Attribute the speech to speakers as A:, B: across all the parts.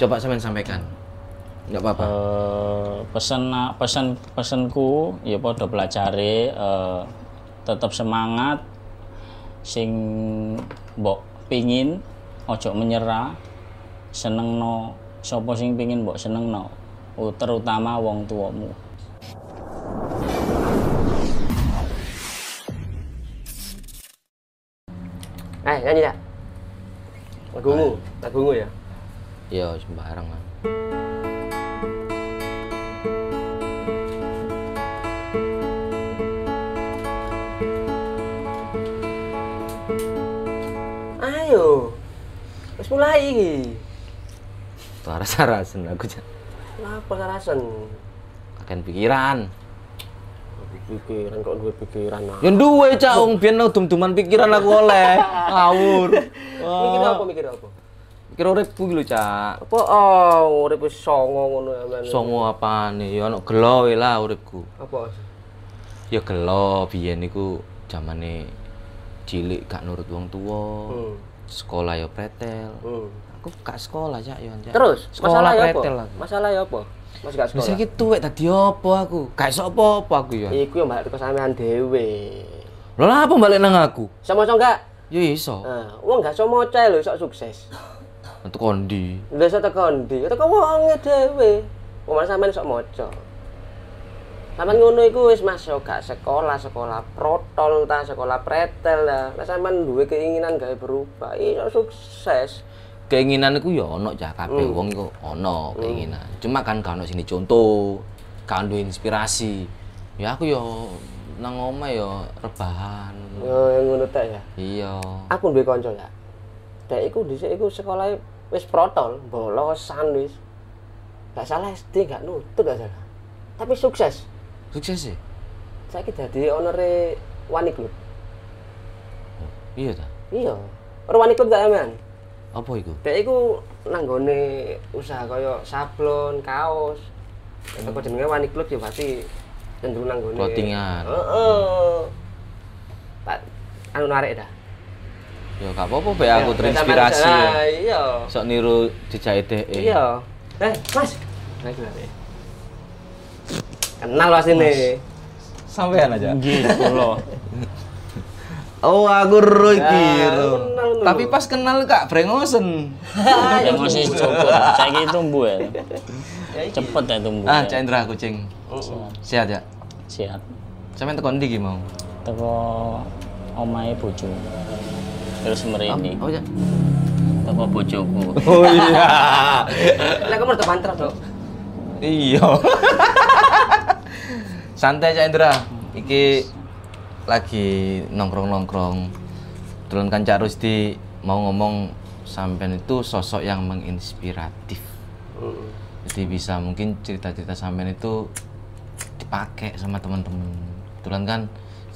A: Coba sampean sampaikan. Enggak apa-apa.
B: Oh.
C: Eh, pesen pesen pesenku ya podo pelajari eh, tetap semangat sing mbok pingin ojo menyerah seneng no sopo sing pingin mbok seneng no terutama wong tuamu
B: Eh, nyanyi dah. Lagumu, lagumu ya.
A: Yo Iya, sembarang lah.
B: Ayo. Wis mulai iki.
A: Tuh aras-arasan aku Cak.
B: Apa karasan?
A: Akan pikiran.
B: Pikiran kok duwe pikiran ah.
A: Yo Ya duwe Cak wong biyen dum-duman pikiran aku oleh. Ngawur.
B: Mikir apa mikir apa?
A: Pikir uripku iki lho Cak.
B: Apa oh urip wis songo ngono ya, aman.
A: Songo apane? Ya ana gelo wae lah uripku.
B: Apa?
A: Ya gelo biyen iku zamane cilik gak nurut wong tuwa.
B: Hmm.
A: Sekolah ya pretel.
B: Hmm.
A: Aku gak sekolah Cak yo Cak.
B: Terus,
A: sekolah
B: masalah ya apa?
A: pretel aku.
B: Masalah ya apa? Mas
A: Bisa
B: gak
A: gitu.
B: sekolah. Iya.
A: iki tuwek tadi apa aku? Gak iso apa-apa aku yo.
B: Iku yang balik ke sampean dhewe.
A: Lho lah apa balik nang aku?
B: Sama-sama enggak?
A: Yo iso.
B: Nah, wong gak iso moco lho iso sukses.
A: Untuk kondi.
B: Lha iso teko ndi? Teko wonge dhewe. Wong malah sampean iso maca. Sampean ngono iku wis masuk gak sekolah, sekolah protol ta, sekolah pretel ta. Lah sampean duwe keinginan gawe berubah, iso sukses.
A: Keinginan iku yo ono ya kabeh
B: Hmm.
A: wong iku ono keinginan. Cuma kan gak ono sini contoh, gak ono inspirasi. Ya aku yo nang omah yo rebahan.
B: Yo ngono ta ya.
A: Iya.
B: Aku duwe kanca ya. Dek iku dhisik iku sekolahe wis protol, bolosan wis. Gak salah SD, gak nutut gak salah. Tapi sukses.
A: Sukses sih.
B: Saiki dadi onere Wani Club.
A: Iya ta.
B: Iya. Ora Wani Club gak aman.
A: Apa iku?
B: Dek iku nanggone usaha kaya sablon, kaos. Itu kok jenenge Wani Club ya pasti cenderung nanggone
A: Clothingan.
B: Heeh. Pak anu narik dah.
A: Yo gak apa-apa be aku
B: Ya,
A: terinspirasi.
B: sama-
A: yo.
B: Ah, Iya.
A: Sok niru jejak dhek.
B: Iya. Eh, Mas. Mas narik. Kenal pasti nih.
A: Sampean aja.
C: gitu loh
A: Oh, aku ro iki.
B: Ah,
A: Ro.
B: aku kenal Oh, lu.
A: Tapi pas kenal Kak Brengosen.
C: yang masih cukup saya gitu tumbuh ya cepet ya tumbuh
B: iya.
A: Ah,
C: ya.
A: Cak Indra kucing.
B: Oh,
A: Sehat ya?
C: sehat
A: Sampeyan tekan ndi ki mau?
C: teko omahe bojo terus merini
A: Oh, ya.
C: teko bojoku
A: Oh iya.
B: Lah kamu depan terus, Dok.
A: iya. Santai Cak Indra. Iki lagi nongkrong-nongkrong. Tulun kan Cak Rusdi mau ngomong sampean itu sosok yang menginspiratif.
B: Heeh.
A: Jadi bisa mungkin cerita-cerita sampean itu dipakai sama teman-teman. Tulan kan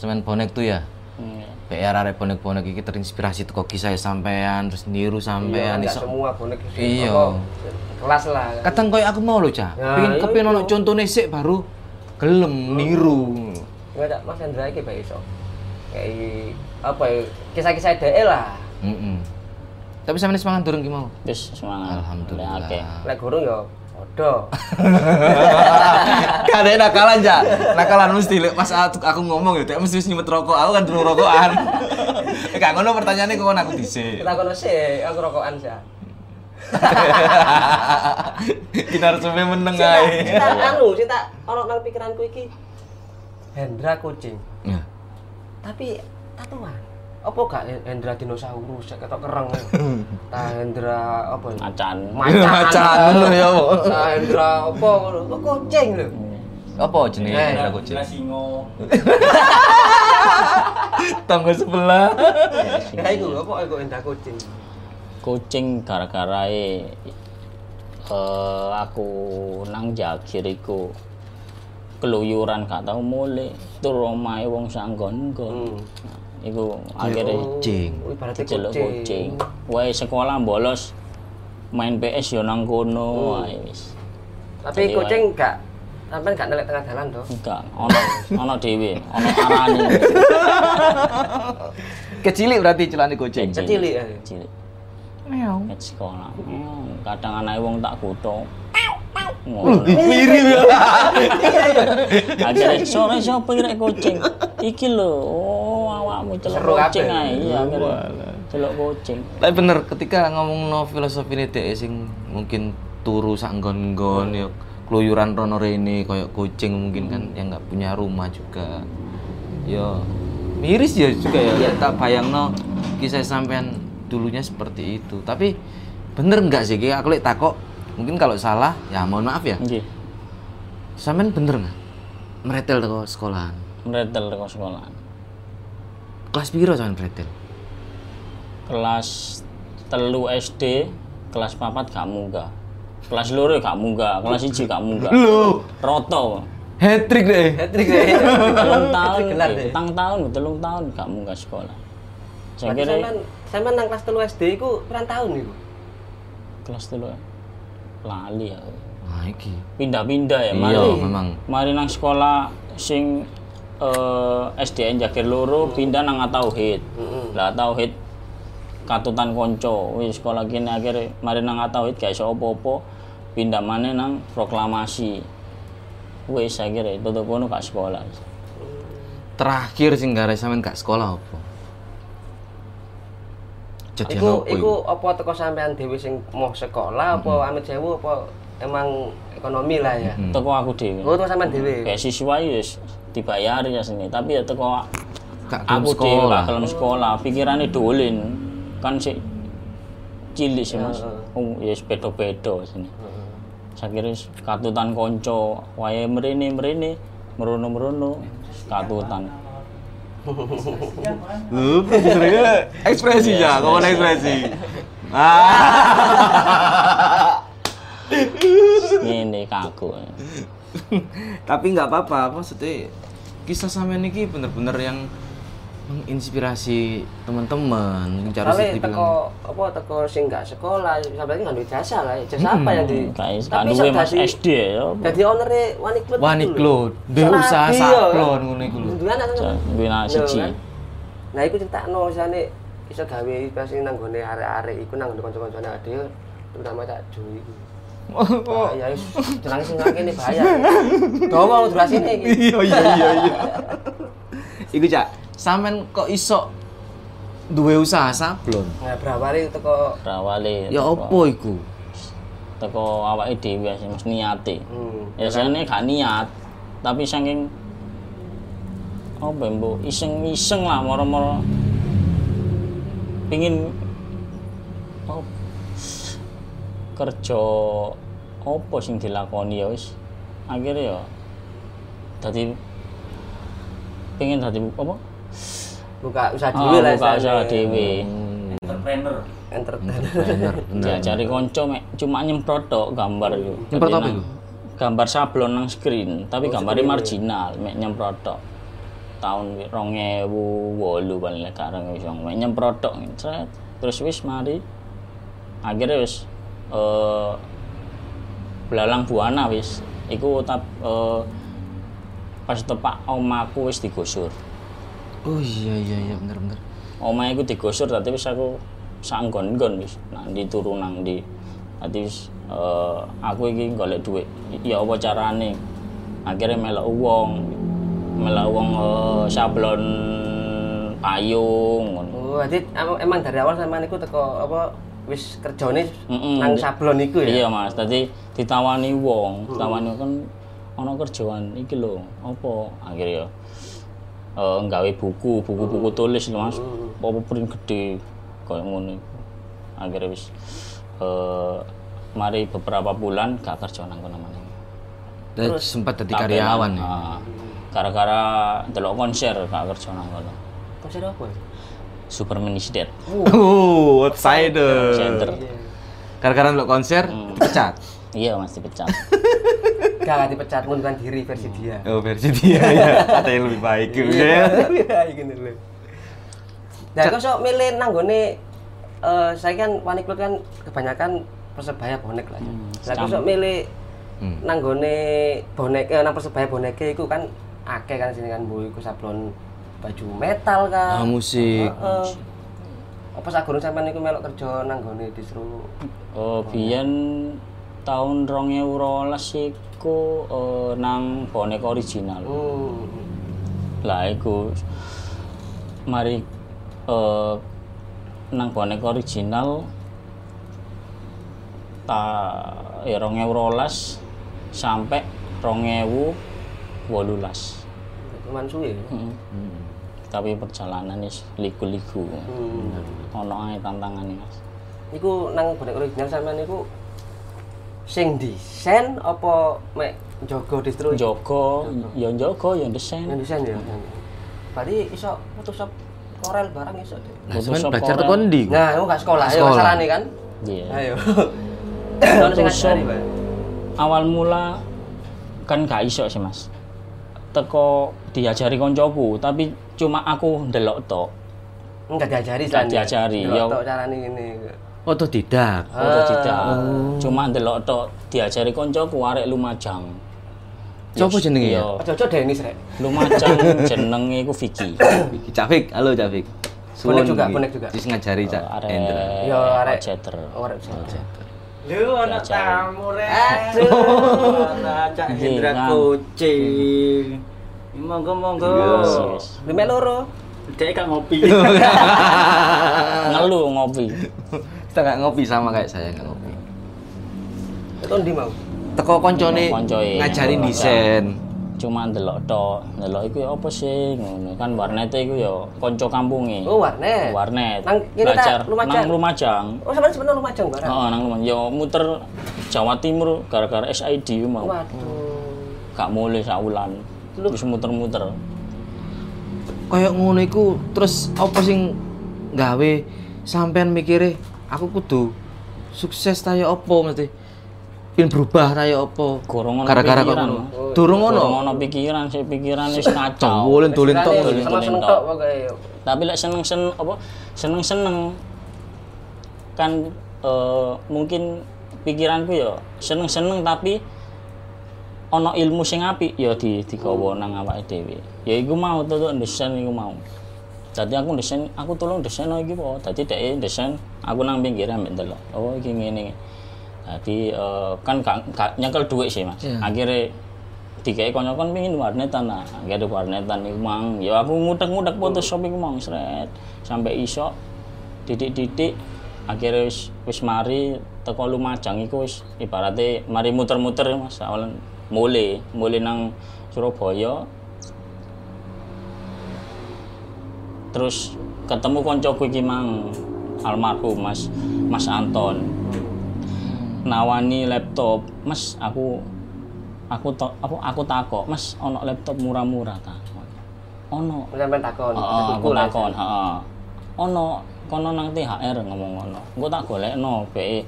A: semen bonek tuh ya.
C: Iya.
A: PR arek bonek-bonek iki terinspirasi teko kisah sampean terus niru sampean
B: Enggak
A: iso
B: semua bonek.
A: Iya.
B: apa, Kelas lah.
A: kadang koyo aku mau lho cah
B: Ya,
A: pengen
B: ya Oh.
A: kepengin ono contone sik baru gelem niru
B: Enggak ada Mas Hendra iki Pak iso. Kayak apa ya kisah-kisah DE lah.
A: Heeh. tapi sampeyan semangat durung ki mau
C: Wis semangat.
A: alhamdulillah
C: Oke.
B: Lek guru ya padha.
A: Gak ada yang nakalan, Cak. Nakalan mesti lek pas aku, aku ngomong ya, Cak, mesti wis nyumet rokok. Aku kan durung rokokan. Eh, Kak ngono pertanyaannya kok ngono aku dhisik.
B: Kita kono sih, aku rokokan sih.
A: Kita harus sampe meneng
B: Cinta,
A: ae.
B: cinta anu, cinta ono nang pikiranku iki. Hendra kucing,
A: Nah,
B: tapi tatuan. Apa gak Hendra dinosaurus sik ketok kereng. Ta Hendra apa ya?
C: Macan.
B: Macan.
A: Macan, ngono ya, Bu.
B: Ta Hendra apa ngono? Kok kucing lho.
A: Apa jenenge
B: Eh,
A: Hendra kucing?
C: singo.
A: Tangga sebelah.
B: Ya iku apa iku Hendra kucing.
C: Kucing gara-gara e eh, aku nang jagir iku keluyuran gak tau mulai turu omahe wong sanggon-nggon.
B: Hmm.
C: Iku akhirnya
A: Kucing.
B: Oh, Ibaratnya
C: diceluk
B: kucing.
C: kucing. Wae sekolah bolos main PS yo nang kono wae wis.
B: Tapi kucing gak sampean gak nelek tengah jalan
A: Hmm.
B: toh.
C: Enggak, ono ono dhewe, ono arane.
A: Kecilik berarti celane kucing. Hmm.
B: Kecilik ya.
C: Cilik.
A: Meow.
C: Ket sekolah. Hmm, Kadang anake wong tak kutuk. Ngono.
A: Mirip ya.
C: Akhirnya sore sapa rek kucing. Iki lho, oh awakmu celok
B: Seru
C: kucing
B: kabeh.
C: ae iya akhirnya. Celok kucing.
A: Tapi bener ketika ngomong no filosofi ini dek sing mungkin turu sak nggon-nggon ya keluyuran rono rene koyo kucing mungkin kan yang nggak punya rumah juga. Yo miris ya juga ya. Tak bayangno kisah sampean dulunya seperti itu. Tapi bener nggak sih Ki? aku lek takok mungkin kalau salah ya mohon maaf ya.
C: Nggih.
A: Sampean bener nggak? Meretel teko sekolahan.
C: Mretel kok sekolah.
A: Kelas piro sampean meretel?
C: Kelas telu SD, kelas papat gak munggah. Kelas loro gak munggah, kelas siji gak munggah.
A: Loh,
C: Roto.
A: hat trick deh.
B: Trik ya.
C: Telung tahun,
B: Gelar deh.
C: petang tahun, telung tahun gak munggah sekolah. Saya
B: Berarti
C: kira
B: sampean sampean nang kelas 3 SD iku pirang tahun iku?
C: kelas dulu ya. Lali ya.
A: Nah, iki. Iya,
C: Pindah-pindah ya, mari.
A: memang.
C: Mari nang sekolah sing eh, SDN Jagir Loro pindah nang Atauhid. Lah Atauhid katutan konco. Wis sekolah kene akhirnya mari nang Atauhid gak iso apa-apa. Pindah maneh nang Proklamasi. Wis akhirnya tutup kono gak sekolah.
A: terakhir sing gara sampean gak sekolah apa? Jadi apa
B: Iku iku
A: iku?
B: apa teko sampean dhewe sing mau sekolah apa amit sewu apa emang ekonomi lah ya.
C: Teko aku dhewe.
B: Oh, teko sampean dhewe.
C: kayak siswa ya wis dibayari ya sini tapi ya teko
A: Gak gelem
C: aku dhewe
A: sekolah.
C: gak kelem sekolah pikirannya dolin kan sik cilik sih mas oh, ya wis bedo-bedo sini sakire wis katutan konco wayahe mrene mrene merono-merono katutan
A: ekspresi
B: Iya,
A: ya, ngomong ekspresi. Ah,
C: ngene kaku
A: tapi nggak apa-apa, maksudnya kisah sampean ini bener-bener yang menginspirasi teman-teman. Mungkin cara sih
B: Soalnya
A: dibilang.
B: teko apa teko sing gak sekolah sampean iki nggak duwe jasa lah. ya. Jasa apa yang di
C: kayak
B: Tapi
C: kanduwe mas
B: dadi-
C: SD ya
B: Dadi onere Waniklut.
A: Waniklut, duwe usaha saklon ngono iku lho.
B: Duwe anak sampean.
C: duwe anak
B: Lho,
C: siji
B: kan? Nah, iku critakno jane iso gawe pasti nang gone arek-arek iku nang gone kanca-kancane adil terutama Cak Jo iku. Oh, ya wis jenenge sing nang kene bahaya. Dawa durasine iki.
A: Iya iya iya iya. Iku cak, sampean kok iso duwe usaha sablon?
B: Nah, brawari teko
C: rawale
B: Iya,
A: Ya
C: teko-
A: apa iku?
C: teko awake dhewe sih mas niate
B: hmm,
C: ya sebenarnya gak niat tapi saking oh mbok iseng iseng lah moro-moro pingin oh, kerja apa sing dilakoni ya wis akhirnya ya dadi pingin dadi apa
B: buka usaha
C: Ah,
B: dhewe lah.
C: buka usaha
B: istilahnya.
C: dhewe
B: Entertain.
A: Bener, bener.
C: ya cari konco mek cuma nyemprot tok gambar itu
A: Nyemprot apa itu?
C: gambar sablon nang screen tapi gambarnya marginal mek nyemprot tok tahun rong ewu wolu paling lek karang wis mek nyemprot tok Sret. terus wis mari akhirnya wis eh belalang buana wis iku tap eh, pas tepak omaku wis digusur
A: Oh iya iya iya bener bener.
C: Omah iku digusur tapi wis aku sanggon-gon wis nang ndi turu nang ndi. Dadi wis eh, aku iki golek dhuwit. Ya apa carane? Akhirnya melok wong. Melok wong eh, sablon payung ngono.
B: Oh, jadi em- emang dari awal sampean iku teko apa wis kerjane
C: Mm-mm.
B: nang sablon iku ya.
C: Iya Mas, tadi ditawani wong,
A: Hmm.
C: ditawani kan ana kerjaan iki lho, apa akhirnya ya eh nggawe buku, buku-buku
A: Hmm.
C: tulis lho Mas. Apa print gede kaya ngono iku. Akhirnya wis eh mari beberapa bulan gak kerja nang kono meneh.
A: Dan sempat jadi karyawan ya.
C: Ah, gara-gara delok konser gak kerja nang kono.
B: Konser apa? ya?
C: Superman is dead.
A: Oh, outsider.
C: Center.
A: Gara-gara lo konser dipecat.
C: Iya Mas dipecat.
B: Gak dipecat mundurkan diri versi dia.
A: Oh versi dia ya, katanya lebih baik gitu
B: Iya, gini lho. Nah, kok sok milih nang gone eh saya kan panik kan kebanyakan persebaya bonek lah. Lah kok sok milih nang gone bonek eh, nang persebaya boneke iku kan akeh
A: Ah,
B: kan sini kan bu iku sablon baju metal kan.
A: musik.
B: Heeh. Apa sak gurung sampean niku melok kerja nang gone distro?
C: Oh, biyen tahun 2012 iku eh, nang bonek original.
B: Hmm.
C: Lah iku mari eh, nang bonek original ta ya 2012 sampai 2018.
B: Cuman suwe.
C: Hmm. Tapi perjalanan is liku-liku.
B: Hmm.
C: Ono ae tantangane, Mas.
B: Iku nang bonek original sampean niku sing desain apa mek jaga distro?
C: Joko, ya Joko, ya desain.
B: Yang desain ya. Berarti iso Photoshop Corel barang iso deh.
A: Nah,
C: Photoshop
A: sampean belajar
C: orang.
A: tekan ndi? kok?
B: Nah, aku gak sekolah, ya
A: Sekolah.
B: masalahnya kan.
C: Iya.
B: Ayo. Soalnya sing
C: Photoshop.
B: ngajari, Pak.
C: awal mula kan gak iso sih mas teko diajari koncoku tapi cuma aku ndelok tok
B: Enggak diajari,
C: Nggak
B: San.
C: diajari,
B: Delok
C: yo.
B: tok carane ngene.
A: Oh, Otodidak.
B: Ah.
C: ora tidak cuma ndelok tok diajari koncoku arek Lumajang
A: Coba jenenge ya.
C: Yo,
B: Ojo-ojo Denis rek.
C: Lumajang jenenge iku Vicky
A: Iki Cak Fik, halo Cak Fik.
B: Bonek juga,
A: iki.
B: bonek juga.
A: Wis ngajari Cak
C: arek
A: Hendra.
B: Yo arek.
C: Ojeter.
B: Ora bisa. diajari.
D: Lu anak tamu rek. Anak Cak Hendra
C: Iya, kan.
D: kucing. Monggo monggo.
C: Yes.
B: Lima loro.
D: Dek kan ngopi.
C: ngelu ngopi
A: Kita nggak ngopi sama kayak saya nggak ngopi.
B: Itu ndi mau?
A: Teko koncone
C: Koncoe.
A: ngajarin desain.
C: cuma ndelok tok ndelok iku ya apa sih ngono kan warnet iku ya konco kampunge
B: Oh, warnet.
C: warnet
B: Nang kene
C: belajar
B: ta Lumajang.
C: nang Lumajang
B: Oh, sampean sebenarnya Lumajang barang.
C: Oh, nang Lumajang. Yo muter Jawa Timur gara-gara SID yo
B: Oh.
C: mau.
B: Waduh.
C: Gak mulai saulan. Terus muter-muter.
A: Kayak ngono iku terus apa sing gawe sampean mikire aku kudu sukses ta ya apa mesti pin berubah ta ya apa
C: Gorong ngono
A: gara-gara kok
C: pikiran.
A: ngono durung ngono
C: Ora ono pikiran sih, pikiran wis kacau.
A: dolen dolen tok
B: Istilahnya Seneng-seneng tok pokoke yo.
C: Tapi lek seneng-seneng apa seneng-seneng kan eh, mungkin pikiranku ya seneng-seneng tapi ono ilmu sing apik ya di digawa nang awake dhewe. Ya iku mau tuh tuh, desain iku mau. Dadi aku desain, aku tolong desain oh, iki po. Dadi dhek desain, aku nang pinggir ambek ndelok. Oh iki ngene. Dadi eh, kan gak, gak nyekel dhuwit sih Mas.
A: Iya.
C: Akhirnya dikai konyokan pingin warnetan nah akhirnya warnetan iku mang ya aku ngutek-ngutek Photoshop iku mang sret sampai iso titik-titik akhirnya wis wis mari teko Lumajang iku wis ibaratnya mari muter-muter ya, Mas awalan mulai mulai nang Surabaya terus ketemu koncoku iki mang almarhum Mas Mas Anton nawani laptop Mas aku aku to, aku, aku takok Mas ono laptop murah-murah ta ono
B: Sampean takon.
C: Heeh, aku
B: Tuku lah,
C: takon, heeh. Ono kono nang THR ngomong ngono. Engko tak golekno beke.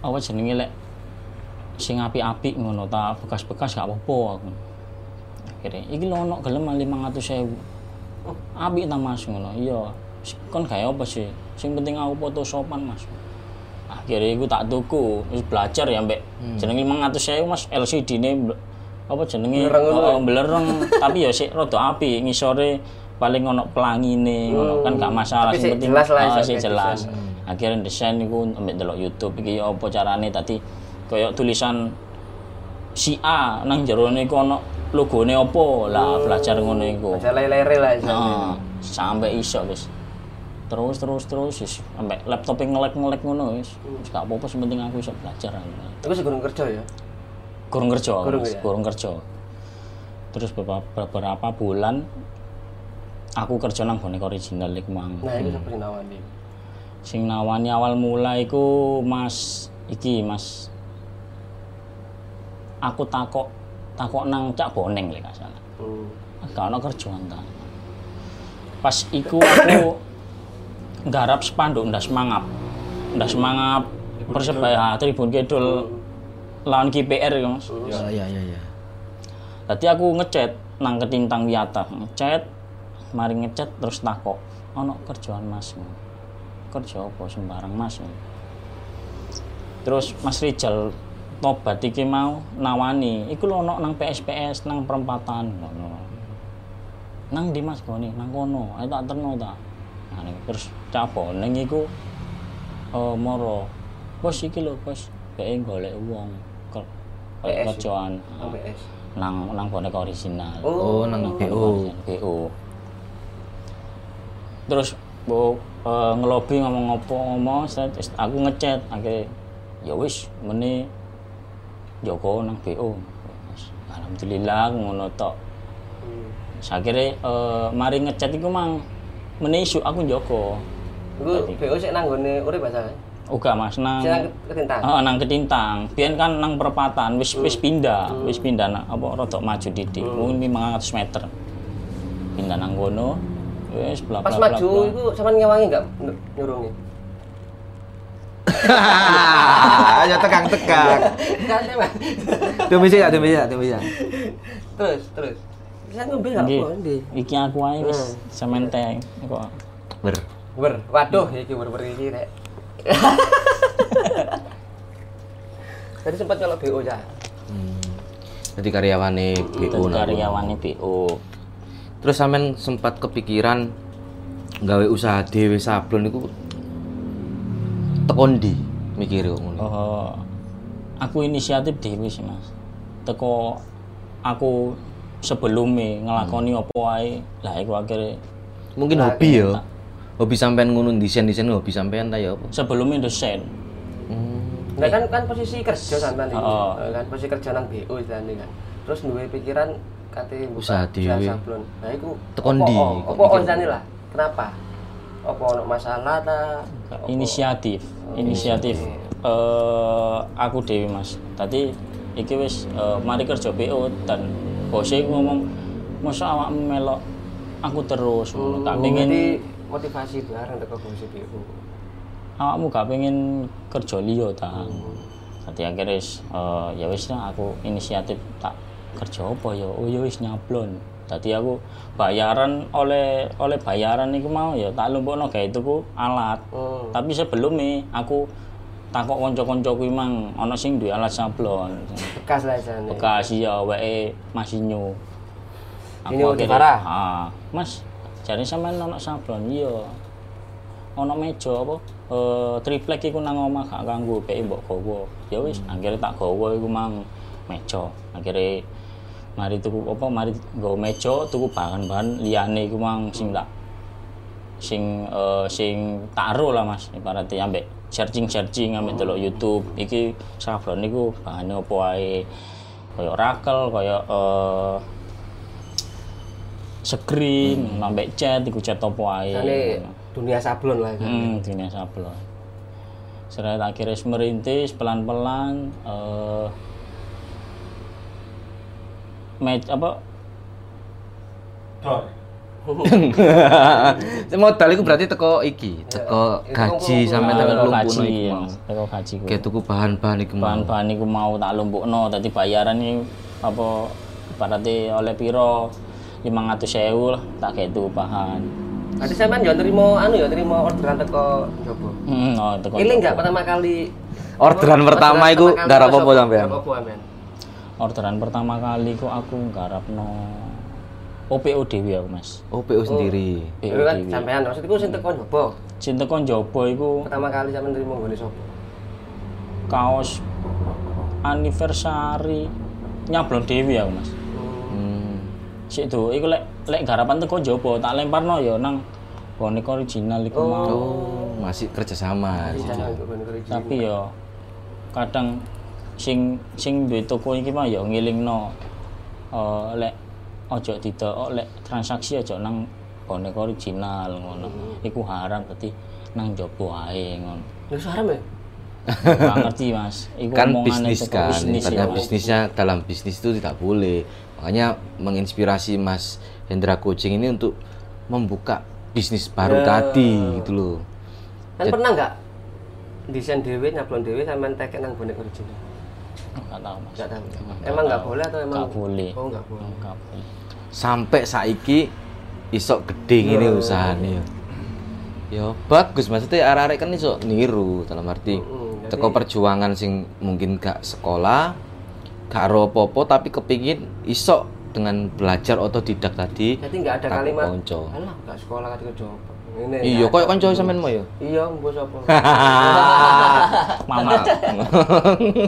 C: Apa jenenge lek sing apik-apik ngono ta bekas-bekas gak apa-apa aku. Akhirnya, iki lho ono gelem 500.000. Apik ta Mas ngono. Iya. Kon gawe apa sih? Sing penting aku photoshopan Mas. Akhirnya iku tak tuku, wis belajar ya mbek.
B: Hmm.
C: Jenenge 500.000 Mas LCD-ne mbek- apa jenenge
B: Belereng ngono ya?
C: Oh, belereng tapi ya sik rada apik ngisore paling ono pelangine ngono kan gak masalah
B: Oh. Tapi
C: sing
B: sik jelas lah,
C: Ah,
B: iso
C: sik
B: kayak
C: jelas akhirnya desain niku ambek delok YouTube iki ya apa carane tadi koyo tulisan si A nang jero niku ono logone apa lah
B: Oh.
C: belajar ngono iku
B: Aja lele-lele lah. iso.
C: Nah, sampai iso wis. Terus terus terus wis sampai laptop e ngelek-ngelek ngono wis. Wis gak apa-apa sing penting aku iso belajar.
B: Iku segurung kerja ya.
C: Kurang kerja,
B: Gurung
C: Mas,
B: ya?
C: gurung kerja. Terus beberapa, beberapa bulan aku kerja nang bonek original iku mang.
B: Nah, iku sampe nawani.
C: Sing nawani awal mula iku Mas iki Mas aku takok takok nang cak boneng lek gak salah.
B: Hmm.
C: gak ono kerjaan ta. Pas iku aku nggarap spanduk ndas mangap. Ndas mangap Persebaya Tribun Kidul lawan KPR ya Mas.
A: ya ya ya
C: Tadi aku ngechat nang ketintang wiata, ngechat mari ngechat terus takok, ono kerjaan Mas. Kerja apa sembarang Mas. Terus Mas Rijal tobat iki mau nawani, iku lho ono nang PSPS nang perempatan ngono. Nang di Mas Goni, nang kono, ayo tak terno ta. Nah, niku. terus cah boneng iku eh moro. Bos iki lho, bos, dhek golek wong ke- kayak
B: PS.
C: kerjaan
B: Oh.
C: ah,
D: PS.
C: nang nang boneka original.
A: Oh, nang BO.
C: BO. Terus bu eh, ngelobi ngomong apa ngomong, saya terus aku ngechat akhirnya ya wis meni Joko nang BO. Alhamdulillah ngono tok. Sakire eh, mari ngechat iku mang meni isuk aku Joko.
B: Iku BO sik nang gone urip bahasa.
C: Uga Mas nang
B: Sik nang ketintang.
C: Oh, nang ketintang. Biyen kan nang perempatan wis wis pindah, wis pindah nang apa rodok maju didik.
B: Hmm.
C: Mungkin 500 meter. Pindah nang kono. Wis bla bla
B: Pas
C: bla.
B: maju
C: bla.
B: iku sampean ngewangi enggak nyurungi?
A: Ayo tekang-tekang.
B: Enggak sih, Mas.
A: Demi sih, demi sih, demi sih.
B: Terus, terus. Bisa ngombe enggak
C: Nggih.
B: apa Hmm. ndi?
C: Iki aku ae wis semen teng kok.
A: Ber.
B: Ber, waduh iki ber-ber iki rek. Tadi sempat nyolok BO ya.
A: Hmm. Jadi karyawane BO
C: Terus
A: nang kono.
C: karyawane BO.
A: Terus sampean sempat kepikiran nggawe usaha dhewe sablon niku tekon ndi mikire kok ngono.
C: Eh, aku inisiatif dhewe sih Mas. Teko aku sebelumnya ngelakoni apa ae. Lah iku akhirnya
A: Mungkin hobi ya. Hobi sampean ngono desain-desain hobi sampean ta ya apa?
C: sebelumnya dosen.
A: Hmm.
B: Enggak kan kan posisi kerja sampean iki.
C: Oh.
B: Eh, Kan posisi kerja nang BO sampean kan. Terus duwe pikiran kate
A: Usaha dhewe.
B: sablon. Nah iku
A: Teko
B: opo-
A: ndi?
B: o-
A: Kok
B: Opo
A: mikir-
B: onjane lah. Kenapa? Apa ono masalah ta? Apa- Oh,
C: inisiatif inisiatif eh aku Dewi Mas tadi iki wis eh, mari kerja PO dan bosnya iku ngomong masa awak melok aku terus ngono. gak pengen
B: Oh, Berarti motivasi bareng teko posisi BO.
C: awakmu gak pengen kerja liya
B: Oh.
C: ta dadi akhirnya wis eh, ya wis lah aku inisiatif tak kerja apa ya oh ya wis nyablon tadi aku bayaran oleh oleh bayaran iku mau ya tak lumpukno gawe tuku alat
B: Oh.
C: tapi sebelumnya aku takok konco-koncoku emang ana sing duwe alat sablon
B: Bekas lah jane.
C: bekas e, ya weke masinyo
B: Ini Udi
C: akhirnya-
B: Farah?
C: ha mas jane sampean ana sablon iya ana meja apa Eh, triplek iku nang omah gak kanggo peke mbok gawa ya wis akhirnya tak gawa iku mang meja akhirnya mari tuku apa mari nggawa meja tuku bahan-bahan liyane iku mang sing tak sing eh, sing taruh lah mas ibaratnya ambek searching searching ambek delok YouTube iki sablon niku bahane apa ae kaya rakel kaya eh screen ambek cat iku cat apa ae
B: Jane dunia sablon lah. kan.
C: hmm dunia sablon Serai akhirnya merintis pelan-pelan eh met apa
D: Dor.
A: Modal iku berarti teko iki, teko
B: Iya,
A: gaji
B: teko
A: sampean
C: Ah,
A: teko
C: teko
A: lumpuno iku Gitu.
C: kaji
A: mau.
C: ya, Mas. teko kaji ku.
A: Kayak tuku bahan-bahan iku mau.
C: bahan-bahan iku mau tak lumpukno dadi bayaran iki apa ibaratnya oleh piro 500.000 lah tak kayak itu bahan
B: Tadi sampean yo nerima anu yo nerima orderan teko jopo.
C: hmm, oh, teko
B: Iling nggak pertama kali
A: Orderan pertama
B: pertama
A: iku
B: kali
A: nggak apa-apa
B: masuk-
A: sampean?
B: nggak apa-apa, men.
C: orderan pertama kali kok aku nggarapno OPO Dewi aku mas
A: Oh, PO sendiri.
B: Iku kan
A: iya.
B: sampean maksudku sing teko jopo.
C: cinta kon jopo iku
B: Pertama kali sampean nerima nggone sapa?
C: kaos anniversary nyablon Dewi aku mas
A: Hmm.
C: sik itu iku lek lek garapan teko jopo tak lemparno ya nang bonek original iku mau
A: Oh, masih kerjasama.
B: Jangan kok nggone kerja.
C: tapi ya kadang sing sing duwe toko iki mah ya ngelingno eh lek ojo didokok lek transaksi ojo nang bonek original ngono iku haram berarti nang jopo ae ngono
B: Ya haram ya.
C: Gak ngerti Mas iku
A: kan
C: omongane
A: bisnis
C: toko
A: kan
C: bisnis ya
A: pada
C: Mas.
A: bisnisnya dalam bisnis itu tidak boleh makanya menginspirasi Mas Hendra Coaching ini untuk membuka bisnis baru tadi gitu loh
B: Kan pernah nggak desain dhewe nyablon dhewe sampean teken nang bonek original?
C: Gak tahu Mas
B: Enggak tahu. Emang nggak boleh atau emang?
C: Gak boleh.
B: Oh, nggak boleh.
C: Gak boleh.
A: sampai saiki isok gede gini usahanya ya bagus maksudnya arah-arah kan isok niru dalam arti
B: Mm-mm,
A: teko perjuangan sing mungkin gak sekolah gak ro popo tapi kepingin isok dengan belajar otodidak tadi
B: Jadi nggak ada
A: Takut
B: kalimat.
A: konco.
B: Alah, nggak sekolah kan kerja apa? Ini.
A: Iya, koyo kanca sampean mau ya.
B: Iya, mbok sapa?
C: Mama.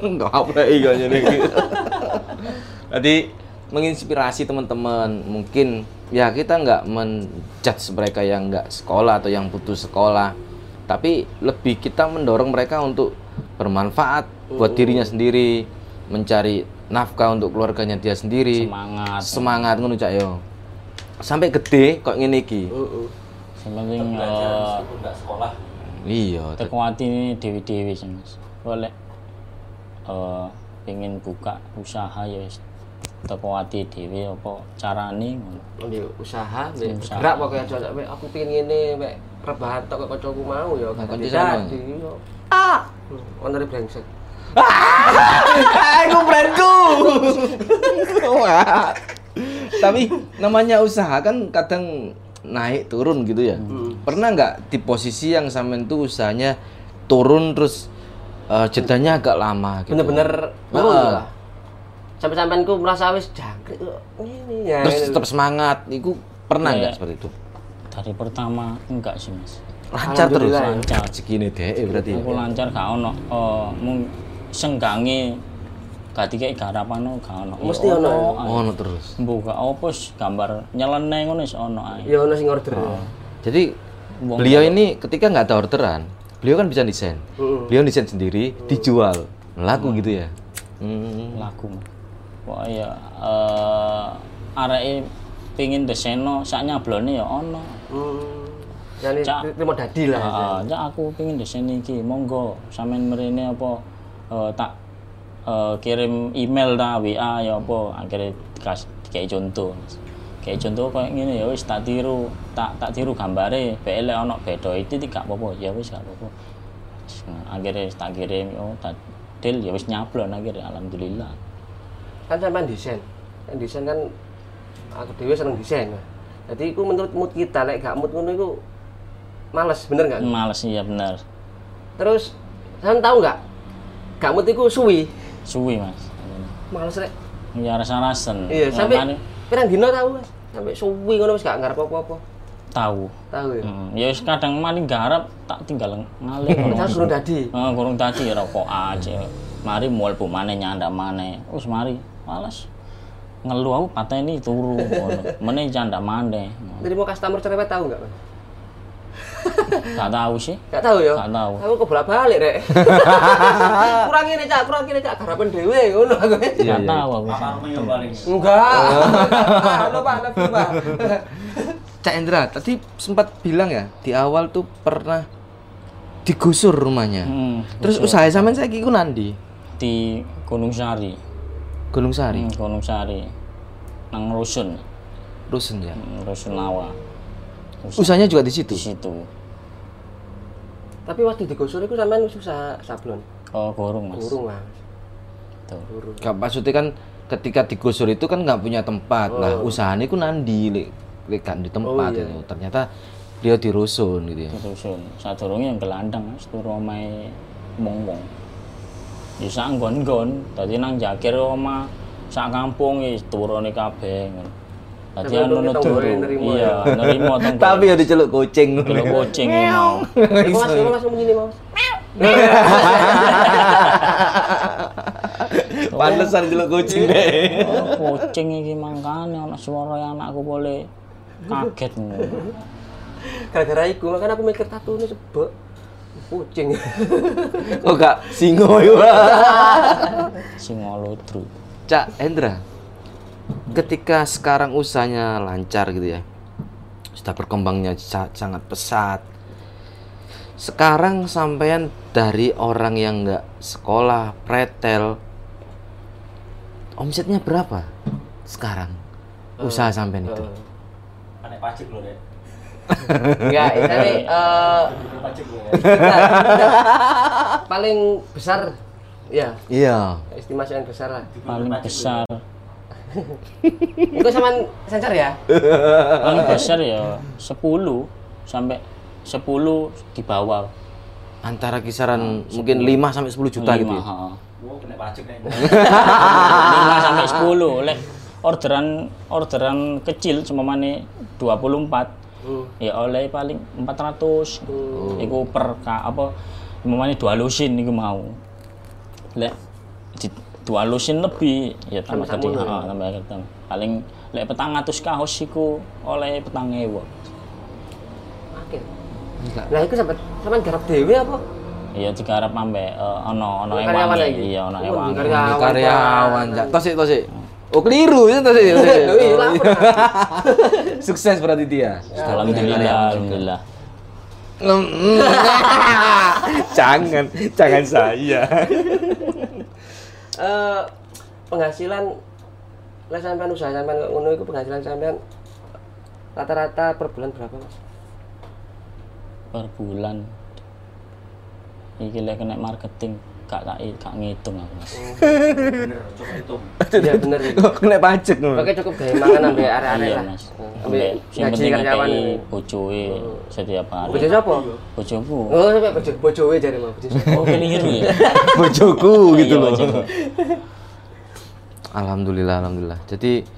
A: Enggak apa iya jadi gitu. Jadi menginspirasi teman-teman mungkin ya kita nggak menjudge mereka yang nggak sekolah atau yang putus sekolah tapi lebih kita mendorong mereka untuk bermanfaat buat dirinya sendiri mencari nafkah untuk keluarganya dia sendiri
C: Semangat.
A: semangat ngono cak yo sampai gede kok ngene iki
B: Heeh.
C: Sing penting
D: belajar meskipun nggak sekolah
A: iya
C: teko ini dewi-dewi sih Mas. Boleh eh pengen buka usaha ya wis teko ati dewi apa carane ngono.
B: Ambil usaha, ambil
C: Usaha.
B: gerak pokoknya aja nek aku pengin ngene mek rebahan tok kok kancaku mau ya
A: Nah,
B: gak
A: kanca sama.
B: jadi. iya. Ah, ono brengsek.
A: Aku brandku. Tapi namanya usaha kan kadang naik turun gitu ya.
B: Hmm.
A: Pernah nggak di posisi yang sampean tuh usahanya turun terus eh, jedanya agak lama gitu.
B: Bener-bener
A: Heeh.
B: turun lah. Sampai-sampai ku merasa wis jangkrik kok ngene ya.
A: Terus
B: ini.
A: tetap semangat. Itu pernah nggak
C: Iya.
A: seperti itu?
C: Dari pertama enggak sih Mas.
A: Lancar terus.
B: Alhamdulillah ya.
C: Lancar.
A: Segini deh eh, berarti. ya.
C: Aku lancar gak ono eh mung senggange gak dikek garapano gak ono.
B: Mesti ono. ya?
A: Oh, no terus.
C: Buka opus gambar nyeleneh ngono wis ono ae.
B: Ya ono sing order.
A: Jadi beliau ini ketika nggak ada orderan, beliau kan bisa desain.
B: Hmm.
A: Beliau desain sendiri,
C: Hmm.
A: dijual, laku gitu ya. Hmm.
C: lagu mah wah ya eh areke pengin deseno sak nyablone ya ono
B: Hmm. Yani
C: Cak.
B: terima dadi lah.
C: heeh ya aku pengin deseni iki monggo sampean mrene apa eh, tak eh, kirim email ta WA ya apa akhirnya dikas kayak contoh kayak contoh kayak gini ya wis tak tiru tak tak tiru gambare bae lek ono beda itu gak apa-apa ya wis gak apa-apa Terus, akhirnya tak kirim oh tak deal ya wis nyablon akhirnya alhamdulillah
B: kan sampean desain kan desain kan aku dewe seneng desain jadi aku menurut mood kita lek gak mood ngono iku males bener gak
C: males ya bener
B: terus sampean tahu gak gak mood iku suwi
C: suwi mas
B: males rek
C: ya rasa-rasen
B: iya
C: Makanya
B: sampai pirang dino tahu Mas sampai suwi ngono wis gak ngarep apa-apa
C: tahu
B: tahu ya
C: Hmm, ya wis kadang maling garap tak tinggal ngalih kurung
B: Kita suruh tadi
C: Eh, kurung tadi rokok aja mari mual bu mana nyanda mana us mari males ngeluh aku pateni turu ngono. meneh canda mana
B: terima customer cerewet tahu gak Mas
C: gak tahu sih
B: gak tahu ya
C: Gak tahu.
B: aku kebolak-balik rek kurang ini cak kurang ini cak garapan dewe ngono aku
A: Iya,
C: gak
B: iya,
C: tahu aku
D: apa rumah yang paling
B: enggak Ah, lupa lupa lupa
A: Cak Indra, tadi sempat bilang ya di awal tuh pernah digusur rumahnya.
C: Hmm,
A: Terus usaha sampean saiki iku nandi?
C: di Gunung Sari
A: Gunung Sari,
C: Hmm, Gunung Sari nang rusun
A: Rusun ya.
C: Hmm, rusun lawa
A: Usahanya juga di
C: di
A: situ.
C: situ
B: Tapi waktu digosur itu sampean susah sablon.
C: oh gorong mas Gitu.
B: Burung lah.
C: Tuh.
A: Gak maksudnya kan ketika digusur itu kan nggak punya tempat. Nah, usahanya iku nandi lek lek gak di tempat itu. Ternyata beliau di rusun gitu ya.
C: disusun sadurunge yang gelandang mas turu omahe wong-wong ya sak nggon-nggon dadi nang jakir omah sak kampung ya turune kabeh ngono dadi
B: Tapi
C: anu
B: untungnya
C: turu
B: tonggolnya nerima
C: iya nerima teng
A: Tapi ya diceluk kucing.
C: kalau kucing ya, mau
B: Iku mas, iku mas begini mas.
A: Pantesan jelek kucing deh.
C: Oh, kucing iki mangkane ana swara anakku boleh kaget ngono
B: Gara-gara iku makanya aku mikir tato ini sebek. Kucing.
A: Kok gak ya, singo iku.
C: sing ngelodru
A: Cak Hendra, ketika sekarang usahanya lancar gitu ya, sudah berkembangnya sa- sangat pesat. Sekarang sampean dari orang yang nggak sekolah, pretel, omsetnya berapa sekarang?
B: Eh,
A: Usaha sampean itu.
D: anak pacik lo deh
B: Enggak, tapi eh,
D: Anak pacik lo ya
B: paling besar ya
A: Iya.
B: estimasi yang besar lah.
C: paling besar
B: Iku sama sensor ya?
C: paling besar ya 10 sampai 10 di bawah
A: Antara
B: Nah,
A: kisaran mungkin 5 sampai 10 juta gitu
C: Lima,
A: ya.
C: ha.
D: gua kena pacik nih
C: 5 sampai 10 oleh orderan orderan kecil cuma mana 24 ya oleh paling 400
B: Oh.
C: iku per ka, apa umpamane dua lusin iku mau lek di dua lusin lebih ya tambah
B: Sama-sama
C: gede
B: ya.
C: heeh tambah gede paling lek petang atus kaos iku oleh petang ewa
B: Akeh. Lah iku sampe sampean garap dhewe apa?
C: ya digarap ambek eh, ono ono
B: Karyawan
C: ewange
B: lagi?
C: iya ono
B: Oh,
C: ewange
A: Ini
B: Karyawan,
A: karyawan cak tosik tosik oh keliru ya tosik tosik.
B: Lho iya Ya. lah.
A: sukses berarti dia
C: alhamdulillah alhamdulillah
A: jangan jangan saya
B: Eh penghasilan lah sampean usaha sampean kok ngono iku penghasilan sampean rata-rata per bulan berapa, Mas?
C: per bulan iki lek kena marketing gak tak gak ngitung aku Mas.
B: Iya bener. iya.
A: kena pajak ngono.
B: Oke cukup gawe mangan ambek arek-arek
C: iya
B: lah.
C: mas
B: Ambek
C: ambek sing
B: ngaji
C: penting
B: karyawan.
C: ngekei bojoe setiap hari
B: Bojo sapa?
C: bojoku
B: Oh, sampe bojo bojowe jare mau bojo.
C: oh keliru ya
A: bojoku gitu
C: Iya,
A: loh
C: bojoku.
A: alhamdulillah alhamdulillah jadi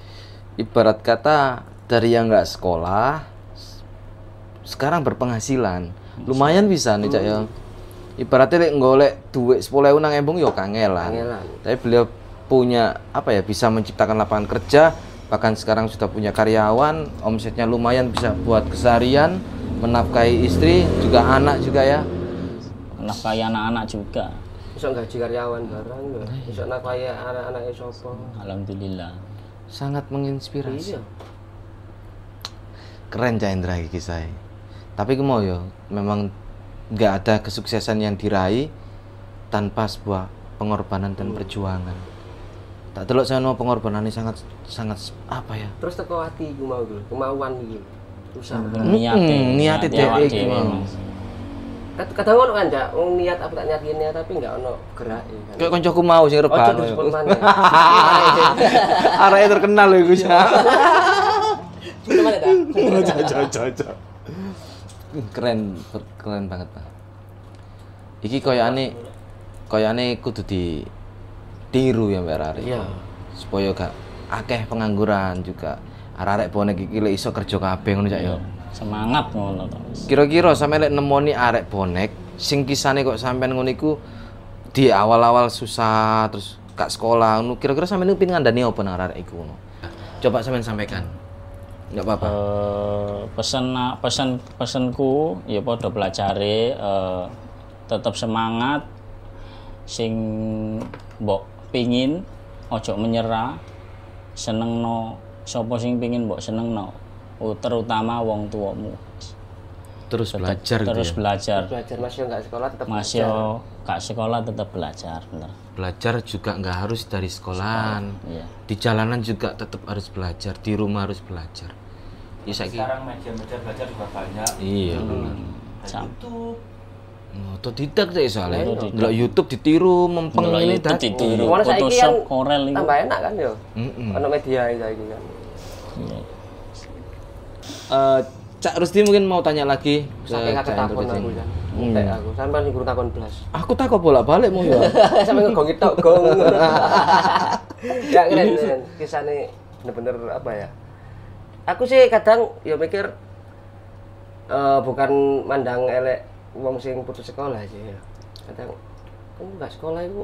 A: ibarat kata dari yang nggak sekolah s- sekarang berpenghasilan lumayan bisa nih cak ya ibaratnya lek golek duit sepuluh nang embung yo kangelan
B: Kangelan.
A: tapi beliau punya apa ya bisa menciptakan lapangan kerja bahkan sekarang sudah punya karyawan omsetnya lumayan bisa buat keseharian menafkahi istri juga anak juga ya
C: nafkahi anak-anak juga
B: Iso gaji karyawan barang ya. Iso nafkahi anak-anake sapa.
C: alhamdulillah
A: sangat menginspirasi
B: Iya.
A: keren Cak Indra iki saya tapi aku mau ya memang nggak ada kesuksesan yang diraih tanpa sebuah pengorbanan
B: Hmm.
A: dan perjuangan tak telok saya mau pengorbanan ini sangat sangat apa ya
B: Terus teko ati iku mau iku, kemauan iki. Usaha.
C: niate
A: Mm, niate
C: niate awake
A: dhek iki,
C: dhewe,
A: Mas.
C: Mas.
B: Kad- kadang ono kan Cak, wong niat aku tak niat gini tapi enggak ono gerak ya kan.
A: kayak koncoku mau sih
B: Ojo
A: rebahan
B: terus
A: ya.
B: maneh.
A: arahnya terkenal loh Gus
B: Cuman ya, Cak?
A: keren keren banget pak iki koyane koyane kudu di tiru ya Mbak Rari
B: Iya.
A: supaya gak akeh pengangguran juga arek bonek iki lek iso kerja kabeh ngono cak ya
C: semangat ngono to Mas.
A: kira-kira sampe lek nemoni arek bonek sing kisane kok sampean ngono iku di awal-awal susah terus gak sekolah ngono kira-kira sampean niku pin ngandani apa nang arek iku ngono coba sampean sampaikan nggak apa-apa
C: Eh, pesen pesen pesenku ya padha pelajari eh, tetap semangat sing mbok pingin ojo menyerah senengno sapa sing pingin mbok senengno U- terutama wong tuamu
A: terus belajar gitu
C: terus
A: ya.
C: belajar
B: Belajar masih enggak sekolah tetap
C: masih yo gak sekolah tetap belajar bener
A: belajar juga nggak harus dari sekolahan
C: iya
A: di jalanan juga tetap harus belajar di rumah harus belajar ya saiki
D: Sekarang media-media belajar juga banyak.
A: iya benar Oh,
D: Ada YouTube,
A: Iya, otodidak sih soalnya ndelok YouTube ditiru mempeng
C: Ndelok
A: ini
C: YouTube
A: tadi
C: ditiru
B: Mana saiki
C: Photoshop
B: kan
C: Corel itu
B: Tambah enak kan yo.
A: Mm-mm.
B: Ono media iki saiki kan.
C: Iya,
A: Eh, Cak Rusdi mungkin mau tanya lagi ke
B: Saking aku
A: Cak
B: takon
A: Indro
B: aku
A: Desi.
B: kan. Entek aku sampean sing guru takon blas.
A: aku tak kok bolak-balik mau ya
B: Sampe ngegongi tok gong. Ya keren keren. Kisahnya bener-bener apa ya? Aku sih kadang ya mikir eh, bukan mandang elek wong sing putus sekolah sih ya. Kadang kamu nggak sekolah itu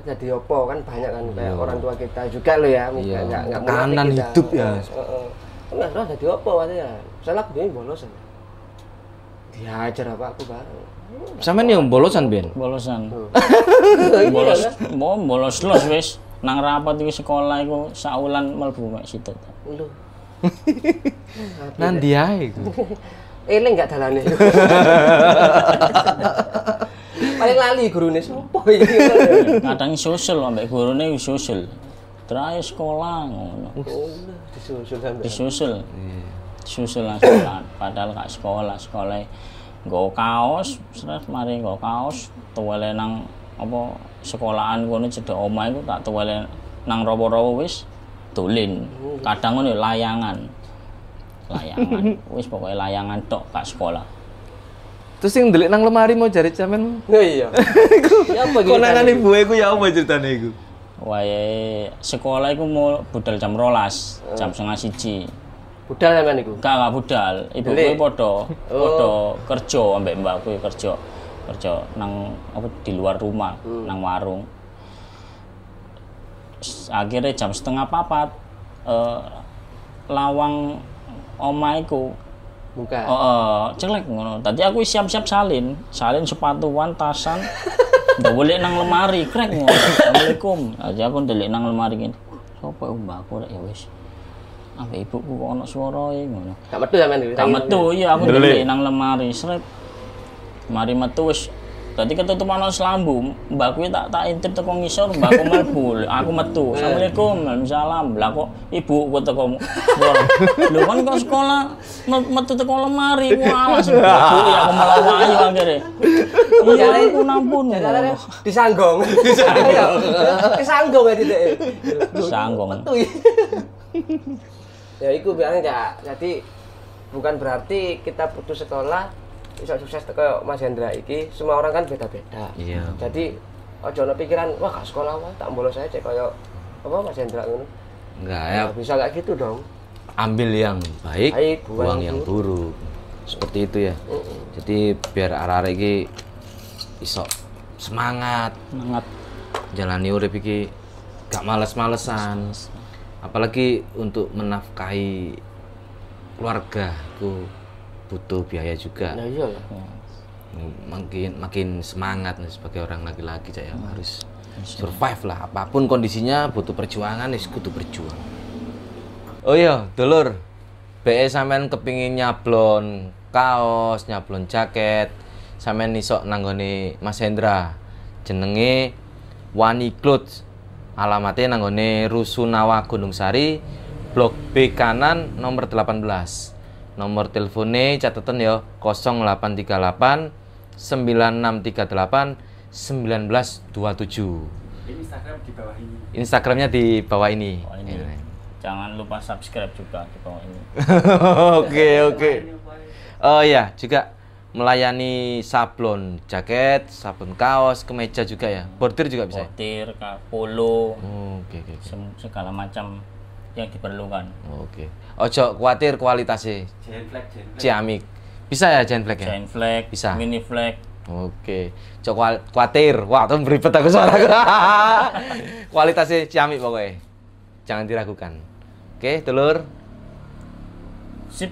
B: jadi apa kan banyak kan kayak orang tua kita juga lo ya
A: Iya.
B: mungkin nggak nggak
A: Tekanan
B: munafik kita.
A: hidup ya.
B: Heeh. kamu nggak sekolah jadi apa katanya soalnya aku dulu bolos ya. diajar apa aku bang
A: sampean yang bolosan Ben
C: bolosan bolos mau bolos los wis nang rapat iku sekolah iku saulan mlebu mek situ
B: lu
A: nanti ae iku.
B: eling nggak dalane paling lali gurune sopo iki
C: kadang susul ambek gurune wis susul terakhir sekolah ngono
B: Oh, disusul sampe
C: disusul disusul lah sekolah padahal gak sekolah sekolah e nggo kaos terus mari nggo kaos tuwele nang apa sekolahan kono cedek omah iku tak tuwele nang rowo-rowo wis dolin kadang ngono layangan layangan wis pokoknya layangan tok gak sekolah
A: terus yang ndelik nang lemari mau cari sampean
B: oh iya ya apa iki
A: konangan ibu aku ya apa ceritanya iku
C: Wae sekolah iku mau budal jam rolas, jam setengah siji.
B: budal sampean iku.
C: Enggak, enggak budal. Ibu
B: Delik.
C: kuwi podo, podo kerja ambek mbak kuwi kerja. Kerja nang apa di luar rumah, nang warung. S- Akhirnya jam setengah papat eh, lawang omaiku
B: Buka.
C: Oh, eh, jelek ngono. Tadi aku siap-siap salin, salin sepatuan, tasan. Nggak boleh nang lemari, krek ngono. Assalamualaikum. Aja aku ndelik nang lemari gini. Sopo iku mbakku rek ya wis. Ambek ibuku kok ono swarae ngono.
B: Gak metu sampean iku.
C: Tak metu iya aku ndelik nang lemari, sret. Mari metu wis. Tadi ketutup ono selambu, mbakku tak tak intip teko ngisor, mbakku mlebu. Aku metu. Assalamualaikum, waalaikumsalam. Lah kok ibuku teko ngor. Lho kan kok sekolah me- metu teko lemari, ku alas mbakku ya aku melayu akhirnya. Iya, aku nampun.
B: Disanggong. Oh. Disanggong. Kesanggong ya tidak.
C: Sanggong.
B: Metu. ya. Ya iku biasanya Cak. Jadi bukan berarti kita putus sekolah bisa sukses kayak Mas Hendra iki. Semua orang kan beda-beda.
A: Iya.
B: Jadi ojo ono pikiran wah gak sekolah wah tak bolos aja kayak apa Mas Hendra ngono.
A: Enggak ya,
B: Nggak bisa gak gitu dong.
A: ambil yang baik,
B: Baik,
A: buang
B: buang
A: yang
B: yang
A: buruk. Seperti itu ya. Jadi biar arah-arah iki iso semangat
C: Semangat.
A: jalani urip iki gak males-malesan. Apalagi untuk menafkahi keluarga itu butuh biaya juga.
B: Ya iya lah.
A: Makin makin semangat nih sebagai orang laki-laki Cak, ya harus survive lah apapun kondisinya butuh perjuangan ya kudu berjuang. Oh iya, dulur. BE sampean kepingin nyablon kaos, nyablon jaket, sampean isok nanggone Mas Hendra. Jenenge Wani Clothes. Alamatnya nanggone Rusunawa Gunung Sari, Blok B kanan nomor 18. Nomor teleponnya catatan ya 0838 9638 1927. Instagramnya di bawah ini.
C: Oh, ini. Jangan lupa subscribe juga di bawah ini.
A: Eh. Oke oke. Oh ya juga melayani sablon jaket, sablon kaos, kemeja juga ya. Bordir juga bisa. ya?
C: Botir, ka- polo,
A: Oh, Oke oke oke.
C: sem- segala macam yang diperlukan.
A: Oke. Ojo khawatir kualitasnya
D: Jenflek, jenflek.
A: ciamik. Bisa ya Genflex ya?
C: Chain flag,
A: Bisa.
C: mini flag,
A: Oke. Ojo kual- khawatir. Wah, tuh beribet aku suaraku. kualitasnya ciamik pokoknya. Jangan diragukan. Oke, telur.
C: sip.